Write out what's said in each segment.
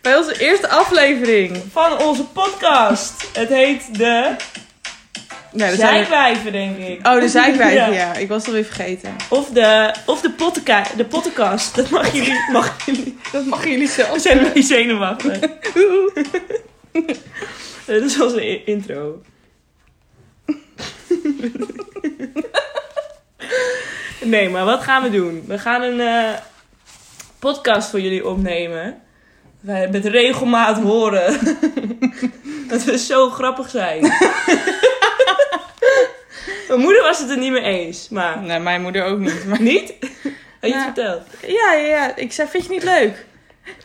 Bij onze eerste aflevering. Van onze podcast. Het heet de Nou, dat zijn er- Zijkwijven, denk ik. Oh, de zijkwijf, ja. Ja. Ik was het alweer vergeten. Of de, of de, potteca- de podcast. Dat mag jullie. Mag jullie. Dat mogen jullie We zelf. zijn een beetje zenuwachtig. Dit is onze i- intro. nee, maar wat gaan we doen? We gaan een eh, podcast voor jullie opnemen. Wij met regelmaat horen dat we zo grappig zijn. Mijn moeder was het er niet mee eens, maar Nee, mijn moeder ook niet. Maar... niet? Had je het Ja. verteld? Ja, ja, ja. Ik zei, vind je het niet leuk?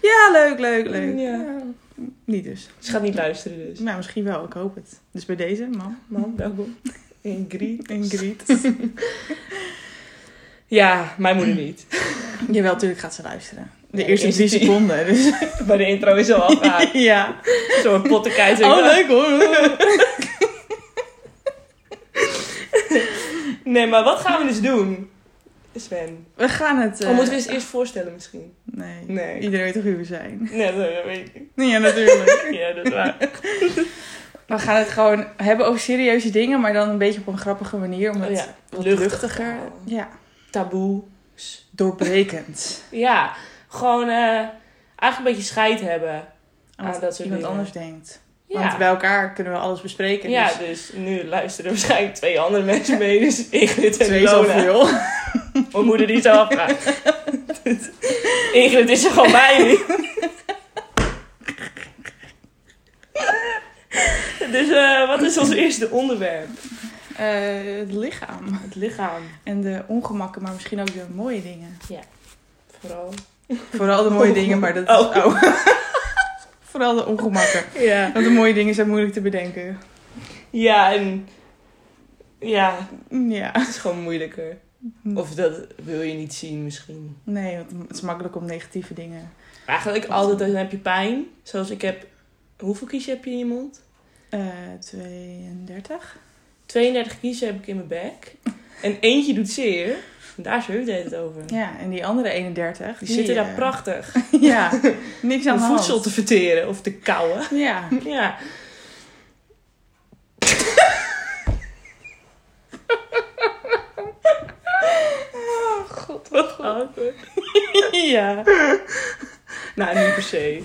Ja, leuk, leuk, leuk. Ja. Niet dus. Ze gaat niet luisteren dus. Nou, misschien wel. Ik hoop het. Dus bij deze, mam. Man, welkom. Ingrid. En Griet. Ja, mijn moeder niet. Jawel, natuurlijk gaat ze luisteren. De Ja, eerste de drie eerste drie. seconden. Dus. Maar de intro is al afgehaakt. Ja. Zo'n pottenkijt. Oh, leuk hoor. Nee, maar wat gaan we dus doen? Sven. We gaan het... eh, Of Oh, moeten we eens eerst voorstellen misschien? Nee. Nee. Iedereen weet toch wie we zijn? Nee, dat weet ik. Ja, natuurlijk. Ja, dat is waar. We gaan het gewoon hebben over serieuze dingen, maar dan een beetje op een grappige manier. Om het Ja, wat luchtig. luchtiger, ja, Taboe. doorbrekend Ja, gewoon eh, eigenlijk een beetje scheid hebben. aan wat Ah, dat soort iemand dingen. anders denkt. Ja. Want bij elkaar kunnen we alles bespreken. ja, dus dus nu luisteren waarschijnlijk twee andere mensen mee. Dus Ingrid en twee Lona. zoveel. Mijn moeder die zo afvraagt. Ingrid is er gewoon bij nu. Dus eh, wat is ons eerste onderwerp? Eh, het lichaam. Het lichaam. En de ongemakken, maar misschien ook de mooie dingen. Vooral. Vooral de mooie dingen, maar dat Oh. oh. Vooral de ongemakken. Ja. Want de mooie dingen zijn moeilijk te bedenken. Ja, en... Ja, Mm, Ja. het is gewoon moeilijker. Of dat wil je niet zien misschien. Nee, want het is makkelijk om negatieve dingen. Eigenlijk altijd dan heb je pijn. Zoals ik heb... Hoeveel kiezen heb je in je mond? Eh 32. 32 kiezen heb ik in mijn bek. En eentje doet zeer. En daar is Heup deed het over. Ja, en die andere 31. Die zitten daar eh, prachtig. Ja, niks aan Om de hand. voedsel te verteren of te kauwen. Ja. Ja. Oh, god. Ja. Nou, niet per se.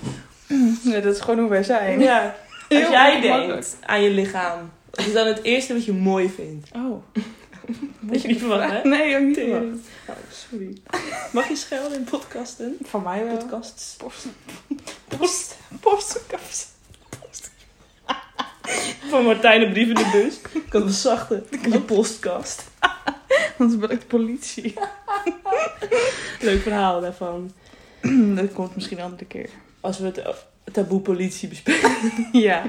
Nee, dat is gewoon hoe wij zijn. Ja. Als Heel jij ongemakkelijk. denkt aan je lichaam, wat is dan het eerste wat je mooi vindt? Oh. Dat je niet verwacht, hè? Nee, ook niet Tering. verwacht. Oh, sorry. Mag je schelden in podcasten? Van mij wel. Podcasts. Post. Post. Postkast. Van Martijn een brief in de bus. Ik had een zachte. Een postkast. Anders ben ik de politie. Leuk verhaal daarvan. dat komt misschien een andere keer. Als we het eh, taboe politie bespreken. Ja.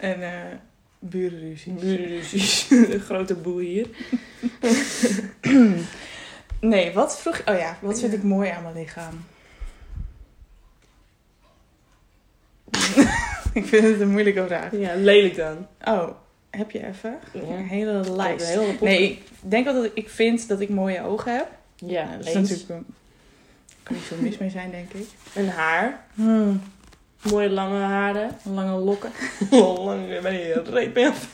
En eh burenruzie. Burenruzies. Een grote boe hier. Nee, wat vroeg... Oh ja, wat vind ik mooi aan mijn lichaam? ik vind het een moeilijke vraag. Ja, lelijk dan. Oh, heb je even? Een hele Lijkt lijst. heel Nee, ik denk wel dat ik, ik vind dat ik mooie ogen heb. Nou, Ja, dat is eens. natuurlijk... een- kan niet zo mis mee zijn, denk ik. Hmm, Een haar. Mooie lange haren. Lange lokken. Oh, lang ben je een reet mee af.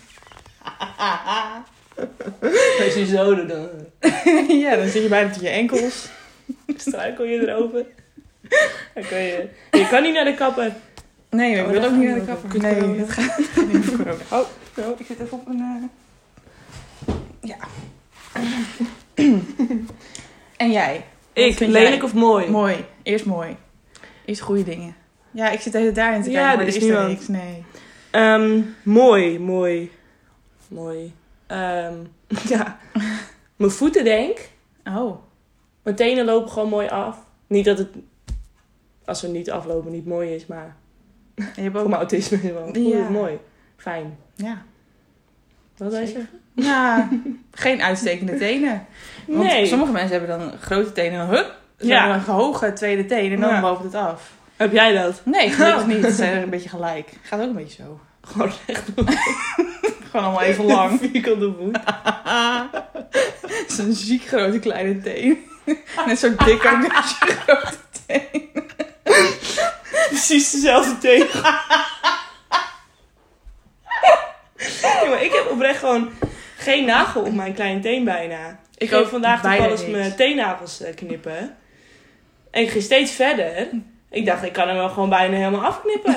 Als je zo doet, dan ja, dan zit je bijna tot je enkels. struikel je erover. Dan kan je... je kan niet naar de kapper. Nee, ik Oh, wil dat ook gaat niet naar de niet over kapper. kut corona. Nee, dat gaat dat gaat niet over corona. Oh, ik zit even op een... eh, Ja. en jij? Wat Ik, vind lelijk jij? of mooi? Mooi. Eerst mooi. Eerst goede dingen. Ja, ik zit even daarin te Ja, kijken, maar er er is is daar niemand. niks. Nee. Ehm, mooi, mooi. Mooi. Ehm, ja. Mijn voeten, denk ik. Oh. Mijn tenen lopen gewoon mooi af. Niet dat het, als ze niet aflopen, niet mooi is, maar Je hebt voor ook... mijn autisme is het wel Ja. goed, mooi. Fijn. Ja. Wat wil je Zeker. zeggen? Nou, geen uitstekende tenen. Want Nee. sommige mensen hebben dan grote tenen en dan hup, ze Ja. hebben een hoge tweede teen en dan Ja. loopt het af. Heb jij dat? Nee, gelukkig niet. Oh. Ze zijn er een beetje gelijk. Gaat ook een beetje zo. Gewoon recht door Gewoon allemaal even lang. vierkante voet. Het is een ziek grote kleine teen. Net zo dik ook als je grote teen. precies dezelfde tegen. Ja, maar ik heb oprecht gewoon geen nagel op mijn kleine teen bijna. Ik ook ging vandaag bijna toevallig niks. mijn teennagels eh, knippen. En ik ging steeds verder. Ik dacht, ik kan hem wel gewoon bijna helemaal afknippen.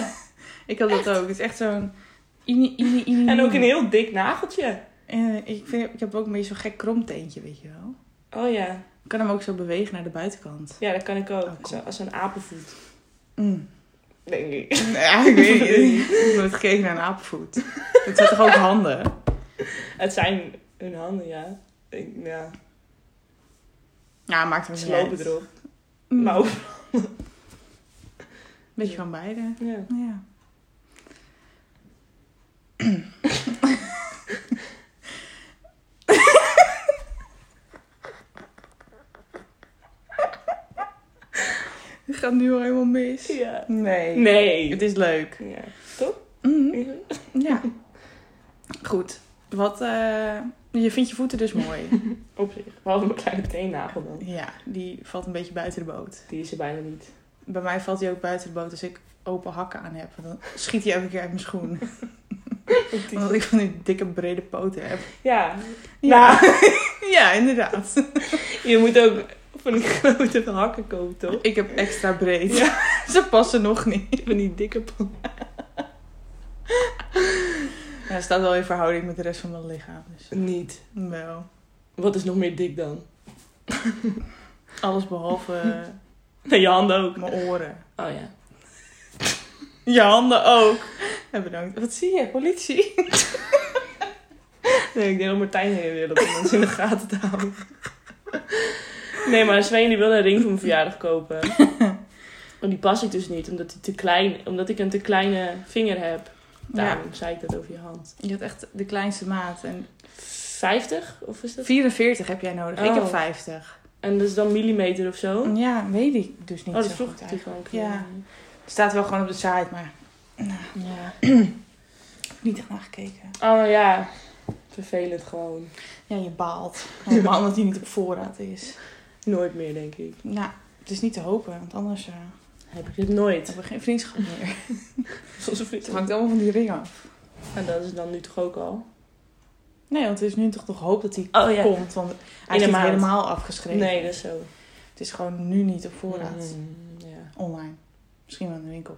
Ik had dat ook. Het is echt zo'n... Ini, ini, ini. En ook een heel dik nageltje. Eh, ik, vind, ik heb ook een beetje zo'n gek kromteentje, weet je wel. Oh ja, Ik kan hem ook zo bewegen naar de buitenkant. ja dat kan ik ook. Oh, cool. Zo, als een apenvoet, Mm. denk ik. Ja, ik weet niet. Ik heb het gekeken naar een apenvoet. Dat zijn toch ook handen? Het zijn hun handen, ja. Ik, ja. Ja, maakt hem Ze niet lopen uit. erop. Mm. Maar ook- Beetje van beide. ja. Ja. Het gaat nu al helemaal mis. ja. Nee. Nee. Het is leuk. Ja. Toch? Mhm. Ja. Goed. Wat, eh, je vindt je voeten dus mooi. Op zich. Behalve mijn kleine teennagel dan. Ja, die valt een beetje buiten de boot. Die is er bijna niet. Bij mij valt die ook buiten de boot als ik open hakken aan heb. Want Dan schiet die elke keer uit mijn schoen. Oh. Omdat ik van die dikke brede poten heb. Ja. Ja, Nou, ja inderdaad. je moet ook van die grote hakken kopen, toch? Ik heb extra breed. Ja. Ze passen nog niet. Van die dikke pan. Ja, het staat wel in verhouding met de rest van mijn lichaam. Dus Niet. wel. Wat is nog meer dik dan? Alles behalve eh, Nee, je handen ook. mijn oren. Oh ja. Je handen ook. En bedankt. Wat zie je? Politie? Nee, ik denk dat Martijn heen wil dat om ons in de gaten te houden. Nee, maar Sven die wilde een ring voor mijn verjaardag kopen. Maar die past ik dus niet, omdat, die te klein, omdat ik een te kleine vinger heb. Daarom zei ik dat over je hand. Je had echt de kleinste maat. En 50 of is dat? 44 heb jij nodig. Ik Oh. heb 50. En dat is dan millimeter of zo. Oh, Ja, weet ik dus niet. dat Mm, zo vroeg goed ik natuurlijk al een keer. Ja. Staat wel gewoon op de site, maar ja. niet echt naar gekeken. Oh ja, vervelend gewoon. Ja, je baalt. Helemaal omdat hij niet op voorraad is. Nooit meer, denk ik. Nou, het is niet te hopen, want anders eh, Heb ik dit nooit. hebben we geen vriendschap meer. Soms Het hangt allemaal van die ring af. En dat is dan nu toch ook al? Nee, want er is nu toch nog hoop dat hij Oh komt. Want hij is een niet maand. helemaal afgeschreven. Nee, dat is zo. Het is gewoon nu niet op voorraad. Mm, ja. Online. Misschien wel in de winkel.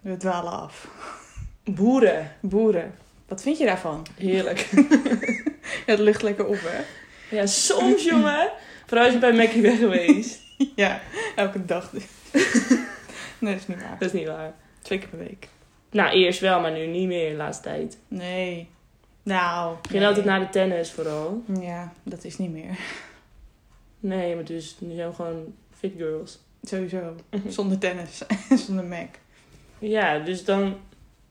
We dwalen af. Boeren. Boeren. Wat vind je daarvan? Heerlijk. Het lucht lekker op, hè? Ja, soms jongen. Vooral als je bij Mackie bent geweest. Ja, elke dag. nee, dat is niet waar. Dat is niet waar. Twee keer per week. Nou, eerst wel, maar nu niet meer de laatste tijd. Ik Nee. Nou. ging nee. altijd naar de tennis vooral. Ja, dat is niet meer. Nee, maar dus nu zijn we gewoon fit girls. Sowieso. Zonder tennis. en Zonder Mac. Ja, dus dan...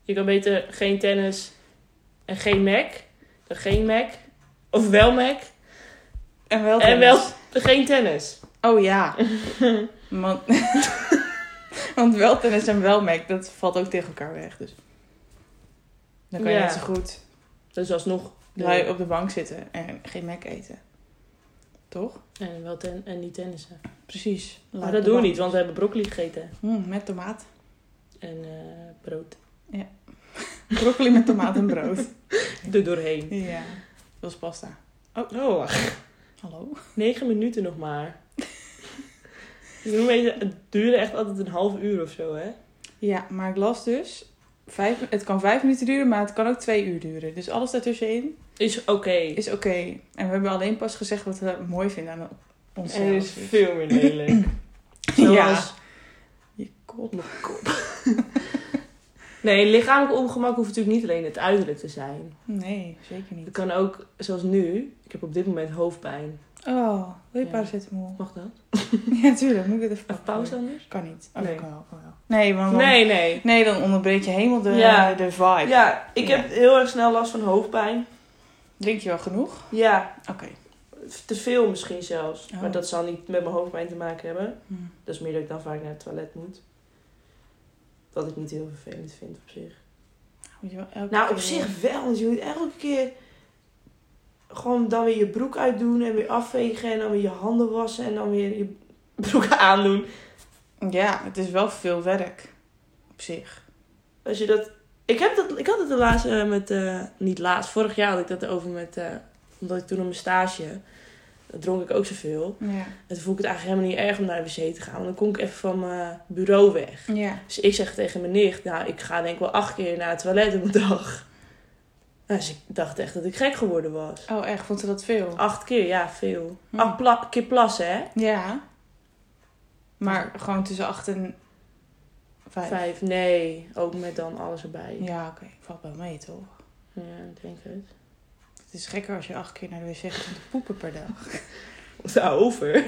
Je kan beter geen tennis en geen Mac. Dan geen Mac. Of wel Mac. En wel En tennis. wel geen tennis. Oh ja. Want, want wel tennis en wel Mac, dat valt ook tegen elkaar weg. Dus. Dan kan je Ja. net zo goed Dus alsnog... de- lui op de bank zitten en geen Mac eten. Toch? En, wel ten, en niet tennissen. Precies. Lui Maar op dat de doen we bank. niet, want we hebben broccoli gegeten. Mm, met tomaat. En eh, brood. Broccoli met tomaat en brood. Er doorheen. Ja. Dat is pasta. Oh, wacht. Hallo? Negen minuten nog maar. Dus noem even- het duurde echt altijd een half uur of zo, hè? Ja, maar ik las dus. Vijf, het kan vijf minuten duren, maar het kan ook twee uur duren. Dus alles daartussenin Is oké. is oké. En we hebben alleen pas gezegd wat we mooi vinden aan onszelf. Dus En is veel meer lelijk. ja. Zoals- Je kop. Nee, lichamelijk ongemak hoeft natuurlijk niet alleen het uiterlijk te zijn. Nee, zeker Het niet. kan ook, zoals nu, ik heb op dit moment hoofdpijn. Oh, wil je Ja. paracetamol? Mag dat? Ja, tuurlijk. Moet ik dit even Even pakken? pauze anders? Kan niet. Oh, Nee. kan wel, kan wel. Nee, maar dan, nee. Nee, nee. dan onderbreek je helemaal de, Ja. de vibe. Ja, ik heb heel erg snel last van hoofdpijn. Drink je wel genoeg? Ja, Oké. te veel misschien zelfs. Oh. Maar dat zal niet met mijn hoofdpijn te maken hebben. Hm. Dat is meer dat ik dan vaak naar het toilet moet. Wat ik niet heel vervelend vind op zich. Moet je wel elke Nou, keer op weer- zich wel. Want je moet elke keer gewoon dan weer je broek uitdoen en weer afvegen. En dan weer je handen wassen en dan weer je broek aandoen. Ja, het is wel veel werk. Op zich. Als je dat... Ik, heb dat, ik had het de laatste eh, met... eh, niet laatst, vorig jaar had ik dat over met... eh, omdat ik toen op mijn stage... Dat dronk ik ook zoveel. Ja. En toen vond ik het eigenlijk helemaal niet erg om naar de wc te gaan. Want dan kon ik even van mijn bureau weg. Ja. Dus ik zeg tegen mijn nicht... Nou, ik ga denk ik wel acht keer naar het toilet op een dag. Nou, dus ik dacht echt dat ik gek geworden was. Oh, echt? Vond ze dat veel? Acht keer, ja, veel. Hm. Acht pla- keer plassen, hè? Ja. Maar gewoon tussen 8 en 5. Vijf, nee. Ook met dan alles erbij. Ja, Ja, oké. Valt wel mee, toch? ik denk het. Het is gekker als je acht keer naar de wc gaat om te poepen per dag. Daarover.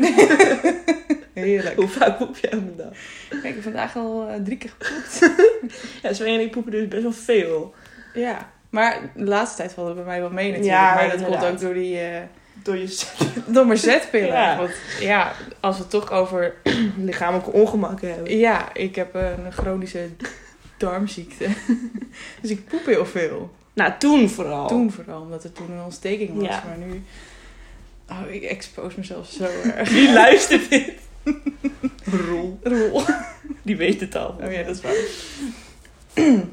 Heerlijk. nou, Hoe vaak poep jij op een dag? Kijk, ik heb vandaag al eh, drie keer gepoept. Ja, Sven en ik poepen dus best wel veel. Ja, maar de laatste tijd valt het bij mij wel mee natuurlijk. Ja, maar dat inderdaad. komt ook door die eh Door je door mijn zetpillen. Ja. Want ja, als we het toch over... lichamelijke ongemakken hebben. Ja, ik heb een chronische darmziekte. dus ik poep heel veel. Nou, toen vooral. Toen vooral, omdat er toen een ontsteking was. Ja. Maar nu... Oh, ik expose mezelf zo erg. Wie luistert dit? Roel. Roel. Die weet het al. Oh ja, dat is waar.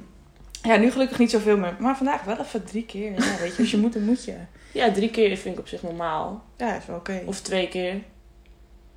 Ja, nu gelukkig niet zoveel meer. Maar vandaag wel even drie keer. Ja, weet je, als je moet, dan moet je. Ja, drie keer vind ik op zich normaal. Ja, is wel oké. Of twee keer.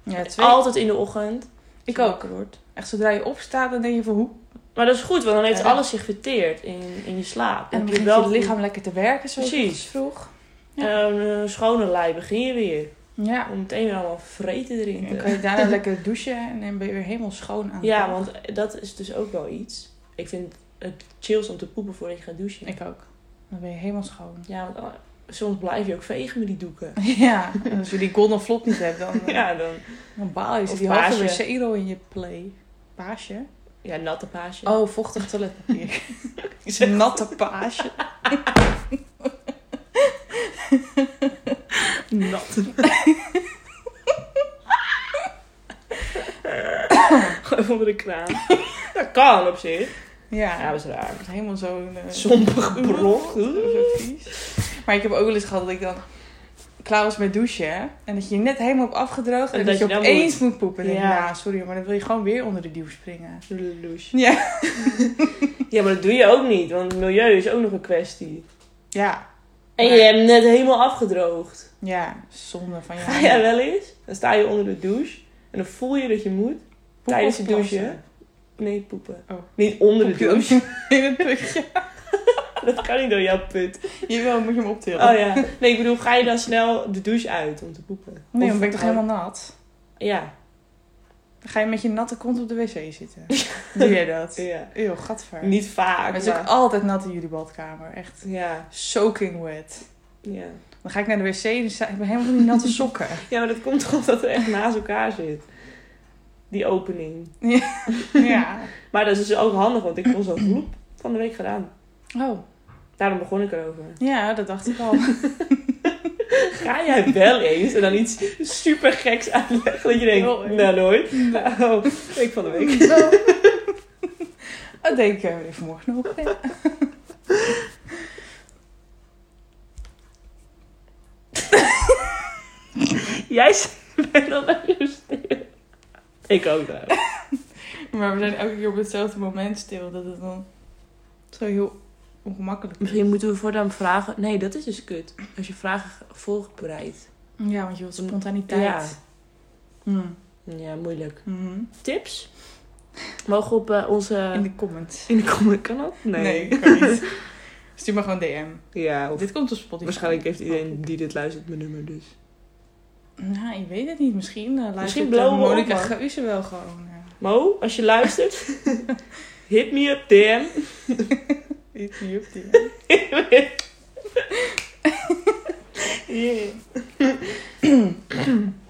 Ja, Altijd in de ochtend. Ik Als je ook. wakker wordt. Echt zodra je opstaat, dan denk je van hoe. Maar dat is goed, want dan heeft Ja. alles zich verteerd in, in je slaap. En dan Heb je begint je goed- lichaam lekker te werken, zoals je Precies. vroeg. Eh, een schone lei begin je weer. Ja. Om meteen weer allemaal vreten En erin dan te kan je daarna lekker douchen en dan ben je weer helemaal schoon aan. de Ja, dag. want dat is dus ook wel iets. Ik vind het chills om te poepen voordat je gaat douchen. Ik ook. Dan ben je helemaal schoon. Ja, want eh, soms blijf je ook vegen met die doeken. Ja, en als je die golden flop niet hebt, dan, eh, Ja, dan... dan baal je. Zit Of die halve paasje. wc-rol in je play. Paasje? Ja, natte paasje. Oh, vochtig toiletpapier. Is een natte paasje. natte Gewoon onder de kraan. Dat kan op zich. Ja, Ja, dat is raar. is helemaal zo'n... eh, Sompig brok. brok. Maar ik heb ook wel eens gehad dat ik dan klaar was met douchen. hè, En dat je je net helemaal op afgedroogd en, En dat, dat je je dan opeens moet, poepen. Ja. Ja. ja, sorry, maar dan wil je gewoon weer onder de duw springen. Douche. Ja. Ja, maar dat doe je ook niet, want het milieu is ook nog een kwestie. Ja, En je Maar- hebt net helemaal afgedroogd. ja, zonde van je. Ga jij wel eens? Dan sta je onder de douche en dan voel je dat je moet. Poep tijdens of het douchen? plassen? Nee, poepen. Oh. Niet onder de Poep je ook douche. In het putje. Dat kan niet door jouw put. Jawel, moet je hem optillen. Oh ja. Nee, ik bedoel, ga je dan snel de douche uit om te poepen? Nee, dan Of- oh. ben ik toch helemaal nat? Ja. Dan ga je met je natte kont op de wc zitten. Doe jij dat? ja. Eeuw, gadver. Niet vaak. Maar het is ook maar- altijd nat in jullie badkamer. Echt Ja. soaking wet. ja. Dan ga ik naar de wc en dan sta- ik ben helemaal van die natte sokken. Ja, maar dat komt toch omdat er echt naast elkaar zit. Die opening. Ja. Maar dat is dus ook handig, want ik kon zo'n vloep van de week gedaan. Oh, Daarom begon ik erover. ja, dat dacht ik al. Ga jij wel eens en dan iets super geks uitleggen dat je denkt, Heel erg. nou nooit. Oh, week van de week. Dat denk ik eh, vanmorgen nog. Jij bent dan even stil. Ik ook wel. Maar we zijn elke keer op hetzelfde moment stil. Dat het dan zo heel ongemakkelijk is. Misschien moeten we voortaan vragen. Nee, dat is dus kut. Als je vragen voorbereidt. Ja, want je wilt spontaniteit. Ja. Hmm. Ja, moeilijk. Mhm. Tips? Mogen op eh, onze. In de comments. In de comment kan dat? kan niet. Stuur maar gewoon DM. Ja, of Dit komt op Spotify. waarschijnlijk heeft iedereen die dit luistert mijn nummer dus. Nou, ik weet het niet. Misschien eh Misschien luistert blowen Misschien we op, Monika man. Geuze wel gewoon. eh, Mo, als je luistert, hit me up, DM. Iets niet op die. Yeah.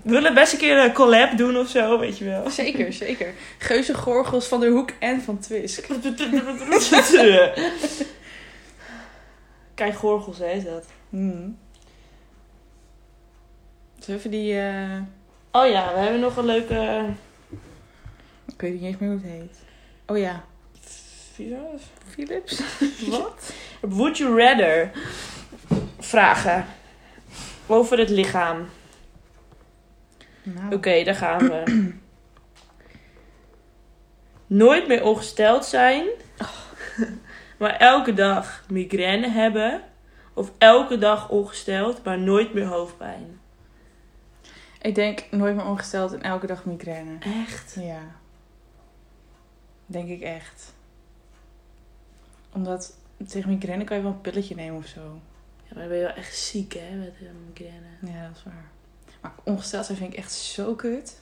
We willen best een keer een collab doen of zo, weet je wel. Zeker, zeker. Geuze Gorgels van de Hoek en van Twisk. Kijk, gorgels, hè, is dat? Hmm. Dus even die... eh, Oh ja, we hebben nog een leuke... Ik weet niet eens meer hoe het heet. Oh ja. Philips? Wat? Would you rather? Vragen. Over het lichaam. Nou. Oké, daar gaan we. nooit meer ongesteld zijn, maar elke dag migraine hebben, of elke dag ongesteld, maar nooit meer hoofdpijn. Ik denk nooit meer ongesteld en elke dag migraine. Echt? Ja. Denk ik echt. Omdat tegen migraine kan je wel een pilletje nemen of zo. Ja, maar dan ben je wel echt ziek, hè, met eh, migraine. Ja, dat is waar. Maar ongesteld zijn vind ik echt zo kut.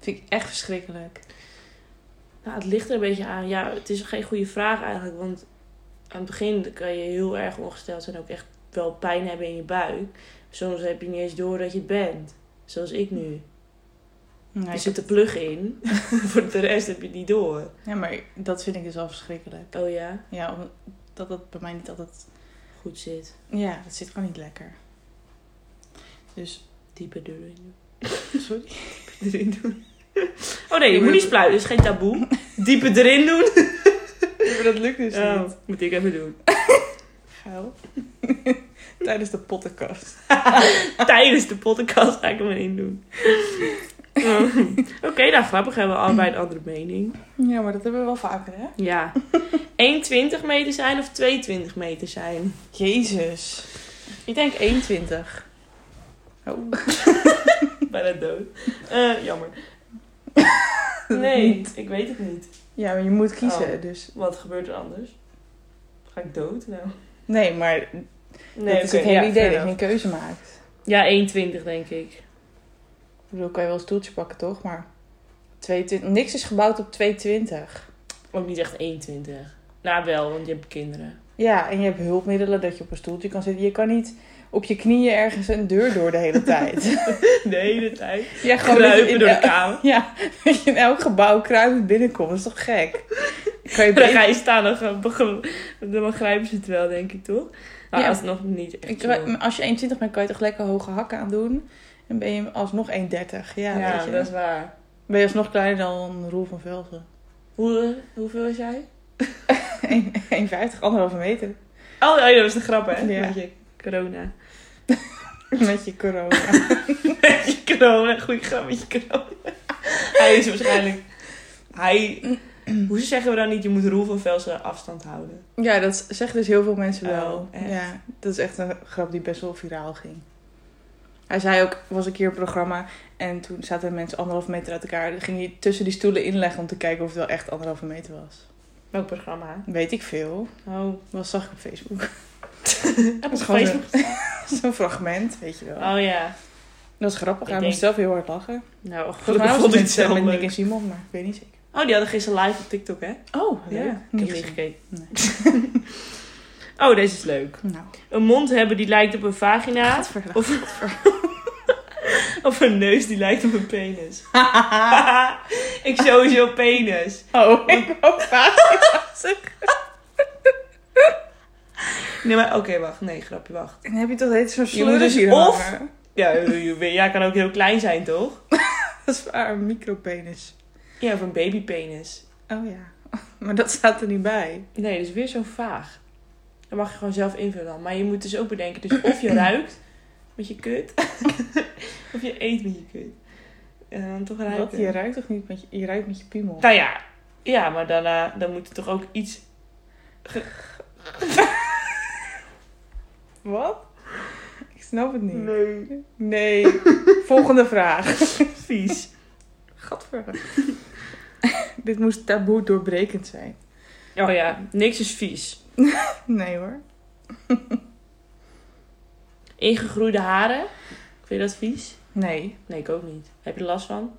Vind ik echt verschrikkelijk. Nou, het ligt er een beetje aan. Ja, het is geen goede vraag eigenlijk, want aan het begin kan je heel erg ongesteld zijn, ook echt wel pijn hebben in je buik. Soms heb je niet eens door dat je het bent, zoals ik nu. Nou, er ik zit de plug in, voor de rest heb je het niet door. heb- Ja, maar dat vind ik dus wel verschrikkelijk. Oh ja, Ja, omdat dat bij mij niet altijd... goed zit. Ja, dat zit gewoon niet lekker. Dus, Diepe deur in doen. sorry. Erin doen. Oh nee, je moet niet spluiten, dat is geen taboe. Diepe erin doen. Oh. Maar dat lukt dus niet. moet ik even doen. Gauw. Tijdens de podcast. Tijdens de podcast ga ik hem erin doen. Mm. Oké, nou grappig hebben we allebei een andere mening. Ja, maar dat hebben we wel vaker, hè? Ja. 1,20 meter zijn of 2,20 meter zijn? Jezus. Ik denk 21. Oh. Bijna dood. Eh, jammer. Nee, ik weet het niet. Ja, maar je moet kiezen, Oh. dus... Wat gebeurt er anders? Ga ik dood nou? Nee, maar Nee, dat is het oké, hele ja, idee fair dat je enough. een keuze maakt. Ja, 1,20 denk ik. Ik bedoel, kan je wel een stoeltje pakken, toch? Maar 22... niks is gebouwd op 220. Ook niet echt 21. Nou, wel, want je hebt kinderen. Ja, en je hebt hulpmiddelen dat je op een stoeltje kan zitten. Je kan niet op je knieën ergens een deur door de hele tijd. De hele tijd. ja, gewoon dat je Kruipen in door de el- kamer. Ja, dat je in elk gebouw kruipend binnenkomt. Dat is toch gek? Kan je Dan ga beter... je staan, dan, gaan- dan begrijpen ze het wel, denk ik, toch? Nou, Ja. als het nog niet echt Ik- zo. als je 1,20 bent, kan je toch lekker hoge hakken aan doen? En ben je alsnog 1,30. Ja, Ja, weet je. dat is waar. Ben je alsnog kleiner dan Roel van Velzen? Hoe, hoeveel is jij? 1,50, anderhalve meter. Oh, oh, dat was de grap, hè? Ja. Met je corona. Met je corona. Met je corona. Goeie grap met je corona. Hij is waarschijnlijk... Hij... Hoe zeggen we dan niet, je moet Roel van Velsen afstand houden? ja, dat zeggen dus heel veel mensen wel. Oh, echt? Ja, dat is echt een grap die best wel viraal ging. Hij zei ook, was een keer een programma en toen zaten mensen anderhalve meter uit elkaar. Dan ging hij tussen die stoelen inleggen om te kijken of het wel echt anderhalve meter was. Welk programma? Weet ik veel. Oh, Dat zag ik op Facebook. dat is is gewoon Facebook. Zo'n fragment, weet je wel. Oh ja. Dat is grappig. Ik Hij denk- moest zelf heel hard lachen. Nou, Volgens mij gelukkig vond ik was het met, eh, het zelf met Nick leuk. en Simon, maar ik weet niet zeker. Oh, die hadden gisteren live op TikTok, hè? Oh, leuk. ja. Ik Niet heb niet gezien. gekeken. Oh, deze is leuk. Nou, Een mond hebben die lijkt op een vagina. gadverdamme. Of, of een neus die lijkt op een penis. Ah. ik sowieso penis. Oh, ik wou vagina zeggen. Nee, maar oké, wacht. Nee, grapje, wacht. Dan heb je toch heet zo'n Je moet slurus dus hier of- hangen. Ja, je weet- ja, kan ook heel klein zijn, toch? Dat is waar, een micropenis. Ja, of een babypenis. Oh ja. Maar dat staat er niet bij. Nee, dus weer zo vaag. Dat mag je gewoon zelf invullen dan. Maar je moet dus ook bedenken, dus of je ruikt met je kut, of je eet met je kut. En dan toch ruiken. Wat? Je ruikt toch niet met je, je ruikt met je piemel? Nou ja, ja maar daarna dan moet er toch ook iets. Wat? Ik snap het niet. Nee. Nee. Volgende vraag. Vies. Gadver. Dit moest taboe doorbrekend zijn. Oh ja, niks is vies. Nee hoor. Ingegroeide haren. Vind je dat vies? Nee. Nee, ik ook niet. Heb je er last van?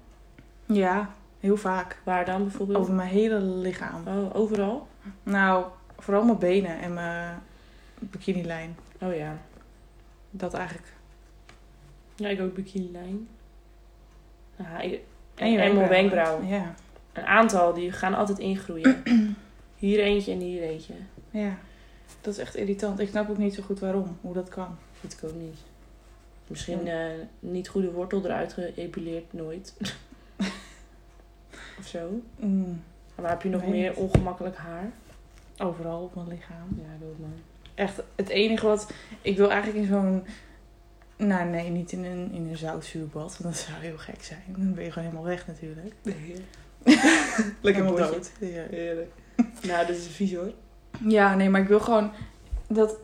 Ja, heel vaak. Waar dan bijvoorbeeld? Over mijn hele lichaam. Oh, overal? Nou, vooral mijn benen en mijn bikinilijn. Oh ja. Dat eigenlijk. Ja, ik ook bikinilijn. Ah, ik- En en je en mijn wenkbrauwen. wenkbrauw. Ja. Een aantal, die gaan altijd ingroeien. hier eentje en hier eentje. ja. Dat is echt irritant. Ik snap ook niet zo goed waarom. Hoe dat kan. Weet ik ook niet. Misschien eh, niet goede wortel eruit geëpileerd, nooit. of zo. Mm, Maar heb je nog Weet meer niet. ongemakkelijk haar? Overal op mijn lichaam. Ja, ik ook man. Echt het enige wat... Ik wil eigenlijk in zo'n... Nou nee, niet in een, in een zoutzuurbad. Want dat zou heel gek zijn. Dan ben je gewoon helemaal weg natuurlijk. Lekker En potje. broodje. Ja. Heerlijk. nou, dit is vies hoor. Ja, nee, maar ik wil gewoon dat,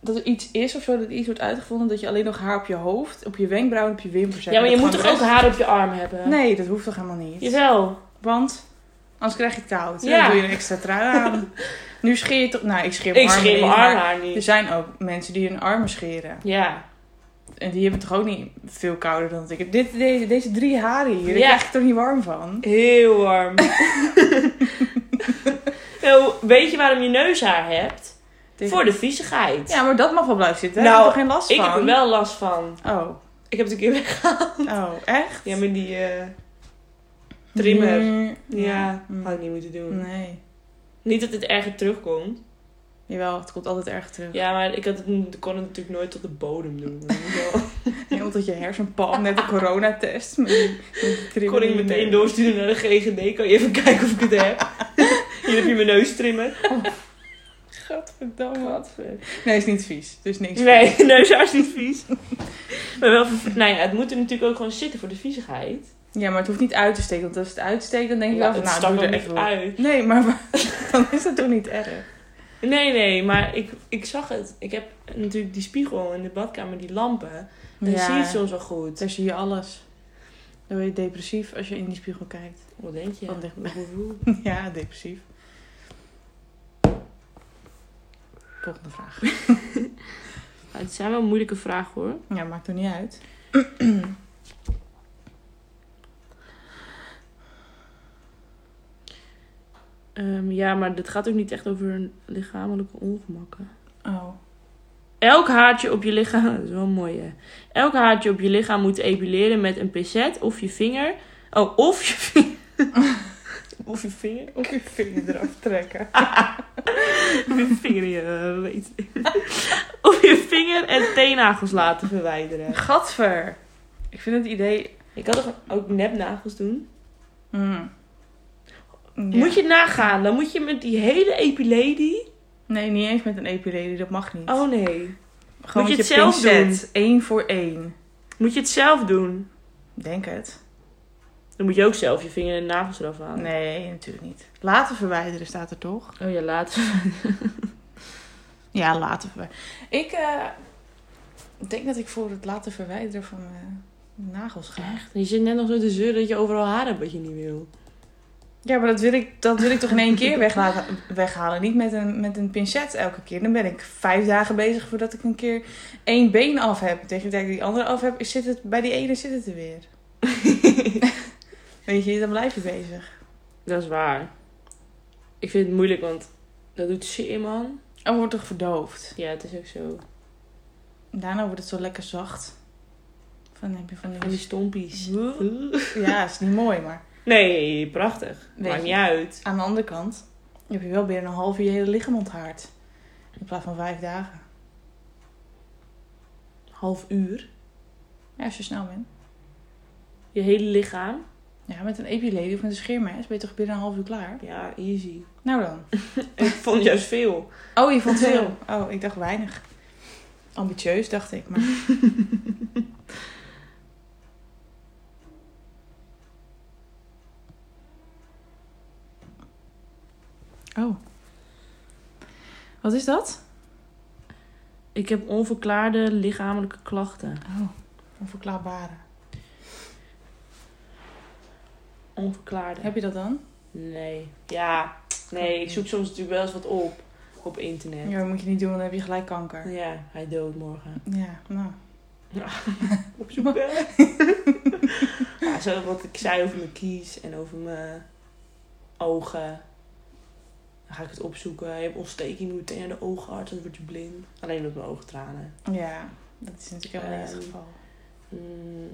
dat er iets is of zo, dat iets wordt uitgevonden dat je alleen nog haar op je hoofd, op je wenkbrauw en op je wimpers hebt. Ja, maar je Dat moet gewoon toch de ook haar op je arm hebben? rest- Nee, dat hoeft toch helemaal niet? Jawel. Want anders krijg je het koud. Ja. Ja. Dan doe je een extra trui aan. nu scheer je toch... Nou, ik scheer mijn Ik armen schreef mijn niet, arm maar haar niet. Er zijn ook mensen die hun armen scheren. Ja. En die hebben toch ook niet veel kouder dan dat ik heb. Dit, deze, deze drie haren hier, daar Ja. krijg ik toch niet warm van? Heel warm. nou, weet je waarom je neushaar hebt? Tegen- Voor de viezigheid. Ja, maar dat mag wel blijven zitten. Nou, Nou, heb er geen last ik van. heb er wel last van. Oh, Ik heb het een keer weggehaald. oh echt? Ja, met die eh, trimmer. Mm, Ja, mm. had ik niet moeten doen. Nee. Niet dat het erger terugkomt. Jawel, het komt altijd erg terug. Ja, maar ik, had het, ik kon het natuurlijk nooit tot de bodem doen. Ja, omdat je hersenpan net een coronatest. Met die, met die Ik kon ik trimmer. meteen doorsturen naar de GGD. Kan je even kijken of ik het heb? Hier heb je mijn neus trimmen. Gadverdamme. Wat Nee, is niet vies. Dus niks. Nee, neushaar is niet vies. Maar wel, ver- nou ja, het moet er natuurlijk ook gewoon zitten voor de viezigheid. Ja, maar het hoeft niet uit te steken. Want als het uitsteekt, dan denk je wel Ja, van, het nou, stak doe er er echt niet wel. uit. Nee, maar, dan is dat toch niet erg. Nee, nee, maar ik, ik zag het. Ik heb natuurlijk die spiegel in de badkamer, die lampen. Dan zie je het soms wel goed. Daar zie je alles. Dan word je depressief als je in die spiegel kijkt. Wat denk je? Van dichtbij. Woehoe. Ja, depressief. Volgende vraag. Ja, Het zijn wel moeilijke vragen hoor. Ja, maakt toch niet uit. Ehm, ja, maar dit gaat ook niet echt over hun lichamelijke ongemakken. Oh. Elk haartje op je lichaam. Dat is wel mooi, hè? Elk haartje op je lichaam moet epileren met een pincet of je vinger. Oh, of je vinger. of je vinger. Of je vinger eraf trekken. Of je vinger in je reet. of je vinger en teennagels laten verwijderen. Gadver. Ik vind het idee... Ik kan toch ook nepnagels doen? Mm. Ja. Moet je nagaan. Dan moet je met die hele epilady. Nee, niet eens met een epilady. Dat mag niet. Oh nee. Gewoon moet je met het zelf pincet. Eén voor één. Moet je het zelf doen? Denk het. Dan moet je ook zelf je vinger en nagels eraf Oh. halen. Nee, natuurlijk niet. Laten verwijderen staat er toch? Oh ja, later. Ja, laten verwijderen. Ik eh, denk dat ik voor het laten verwijderen van mijn nagels ga. Echt? Je zit net nog zo te zeuren dat je overal haar hebt wat je niet wil. Ja, maar dat wil ik, dat wil ik toch in één keer weglaten, weghalen. Niet met een, met een pincet elke keer. Dan ben ik vijf dagen bezig voordat ik een keer één been af heb. Tegen de tijd dat ik die andere af heb, is- zit het, bij die ene zit het er weer. Weet je, dan blijf je bezig. Dat is waar. Ik vind het moeilijk, want dat doet zeer, man. En wordt toch verdoofd. Ja, het is ook zo. Daarna wordt het zo lekker zacht. Van heb je van En die die... stompies. Ja, is niet mooi, maar... Nee, prachtig. Weet Maakt je. niet uit. Aan de andere kant heb je wel binnen een half uur je hele lichaam onthaard. In plaats van vijf dagen. Half uur. Ja, als je snel bent. Je hele lichaam. Ja, met een epilady of met een scheermes ben je toch binnen een half uur klaar? Ja, easy. Nou dan. Ik vond juist veel. Oh, je vond veel. Oh, ik dacht weinig. Ambitieus, dacht ik. Maar oh. Wat is dat? Ik heb onverklaarde lichamelijke klachten. Oh, onverklaarbare. Onverklaarde. Heb je dat dan? Nee. Ja. Nee, ik zoek soms natuurlijk wel eens wat op. Op internet. Ja, dat moet je niet doen, want dan heb je gelijk kanker. Ja, hij dood morgen. Ja, nou. Op zoek ja, zo wat ik zei over mijn kies en over mijn ogen. Dan ga ik het opzoeken. Je hebt ontsteking, je moet meteen naar de oogarts, dan word je blind. Alleen op mijn oogtranen. Ja, dat is natuurlijk helemaal niet het Ehm, geval. Mm,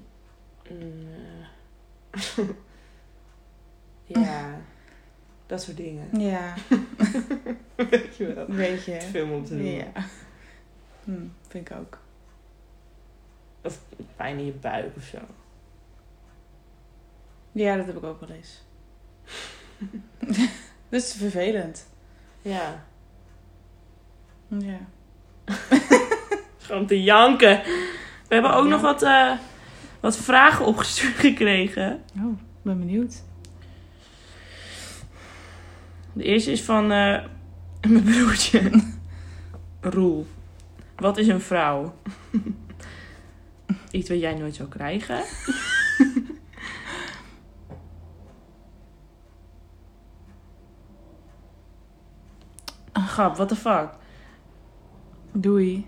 mm, eh. ja, dat soort dingen. Ja, Weet je wel. weet Te je. veel om te doen. Ja. Hm, vind ik ook. Pijn in je buik of zo. Ja, dat heb ik ook wel eens. dat is vervelend. Ja. Ja. Gewoon te janken. We hebben ook Ja. nog wat, eh, wat vragen opgestuurd gekregen. Oh, ben benieuwd. De eerste is van eh, mijn broertje. Roel. Wat is een vrouw? Iets wat jij nooit zou krijgen. Een Grap, what the fuck? Doei.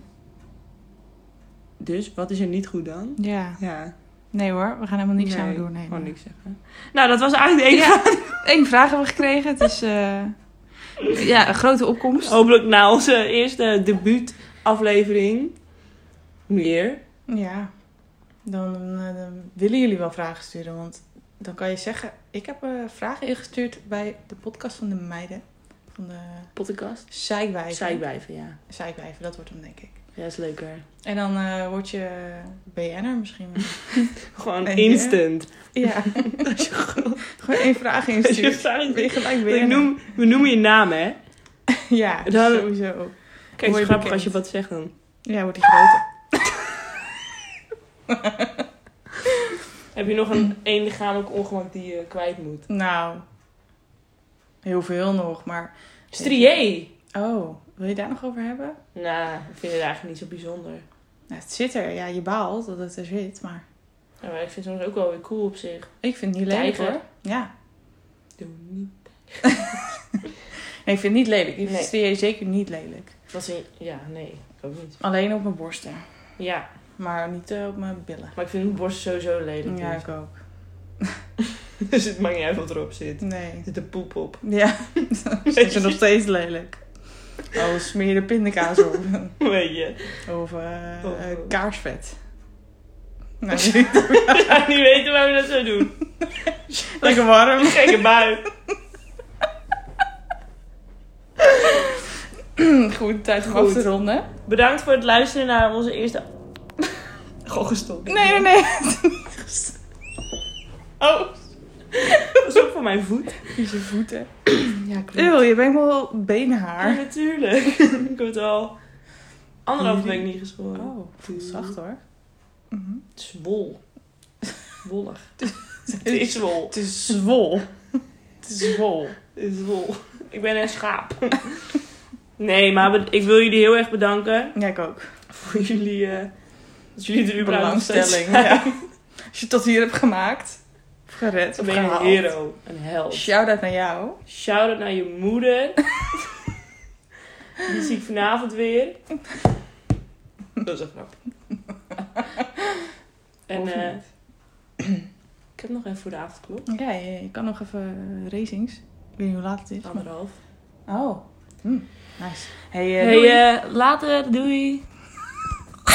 Dus, wat is er niet goed dan? Ja. Ja. Nee hoor, we gaan helemaal niks aan doen. Nee, Gewoon nee. niks zeggen. Nou, dat was eigenlijk de enige. Eén vraag hebben we gekregen. Het is eh, ja, een grote opkomst. Hopelijk na onze eerste debuutaflevering. Meer. Ja, dan, eh, dan willen jullie wel vragen sturen. Want dan kan je zeggen, ik heb eh, vragen ingestuurd bij de podcast van de meiden. Van de Podcast. zeikwijven. Zijblijven, ja. Zeikwijven, dat wordt hem denk ik. Ja, is leuker. En dan eh, word je BN'er misschien wel. Gewoon Nee, instant. ja, Dat is goed. gewoon één vraag Dat is instuurt. fijn. Ben je gelijk We, BN'er. noem, we noemen je naam, hè? Ja, Dan- sowieso. Kijk, het Word is je grappig bekend. als je wat zegt dan. Ja, wordt die groter. Heb je nog een, een lichamelijk ongemak die je kwijt moet? Nou, heel veel nog, maar... Strié! Oh, wil je daar nog over hebben? Nou, ik vind het eigenlijk niet zo bijzonder. Nou, het zit er. Ja, je baalt dat het er zit, maar... Ja, maar ik vind het soms ook wel weer cool op zich. Ik vind het niet lelijk, Tijger. hoor. Ja. Doe niet. Nee, ik vind het niet lelijk. Ik Nee. vind nee. zeker niet lelijk. Dat is een- ja, nee, ik ook niet. Alleen op mijn borsten. Ja, Maar niet eh, op mijn billen. maar ik vind mijn borst sowieso lelijk. Ja, ik ook. Dus het maakt niet uit wat erop zit. Nee. Er zit een poep op. Ja, ik vind het nog steeds lelijk. Oh, smeer je de pindakaas op. Weet je. Of eh, Of, eh, kaarsvet. Nou, Ik zou niet weten waarom we dat zo doen. lekker warm. Gekke bui. Goed, tijd om Goed. af te ronden. Bedankt voor het luisteren naar onze eerste... Gewoon gestopt. Nee, nee, nee. Oh. Dat is ook voor mijn voet. Vieze voeten. Ja, Eeuw, je bent wel Ja, benenhaar. natuurlijk. ik heb het al anderhalve Nee. week niet geschoren. Oh, Mhm. voelt zacht hoor. Het is wol. Wollig. het is wol. Het is zwol. Het is zwol. Het is wol. Ik ben een schaap. nee, maar be- ik wil jullie heel erg bedanken Ja, ik ook. voor jullie... eh, dat jullie er überhaupt nog steeds Belangstelling. zijn. Ja. Als je het tot hier hebt gemaakt, of gered, Dan of ben je een gehaald. hero. Een held. Shout-out naar jou. Shout-out naar je moeder. Die zie ik vanavond weer. Dat is een grap. En Of eh, niet. ik heb nog even voor de avondklok. Ja, je, je kan nog even eh, racings. Ik weet niet hoe laat het is. maar- Anderhalf. Oh. Hm, Nice. Hey, eh, Hey, doei. eh, later. Doei.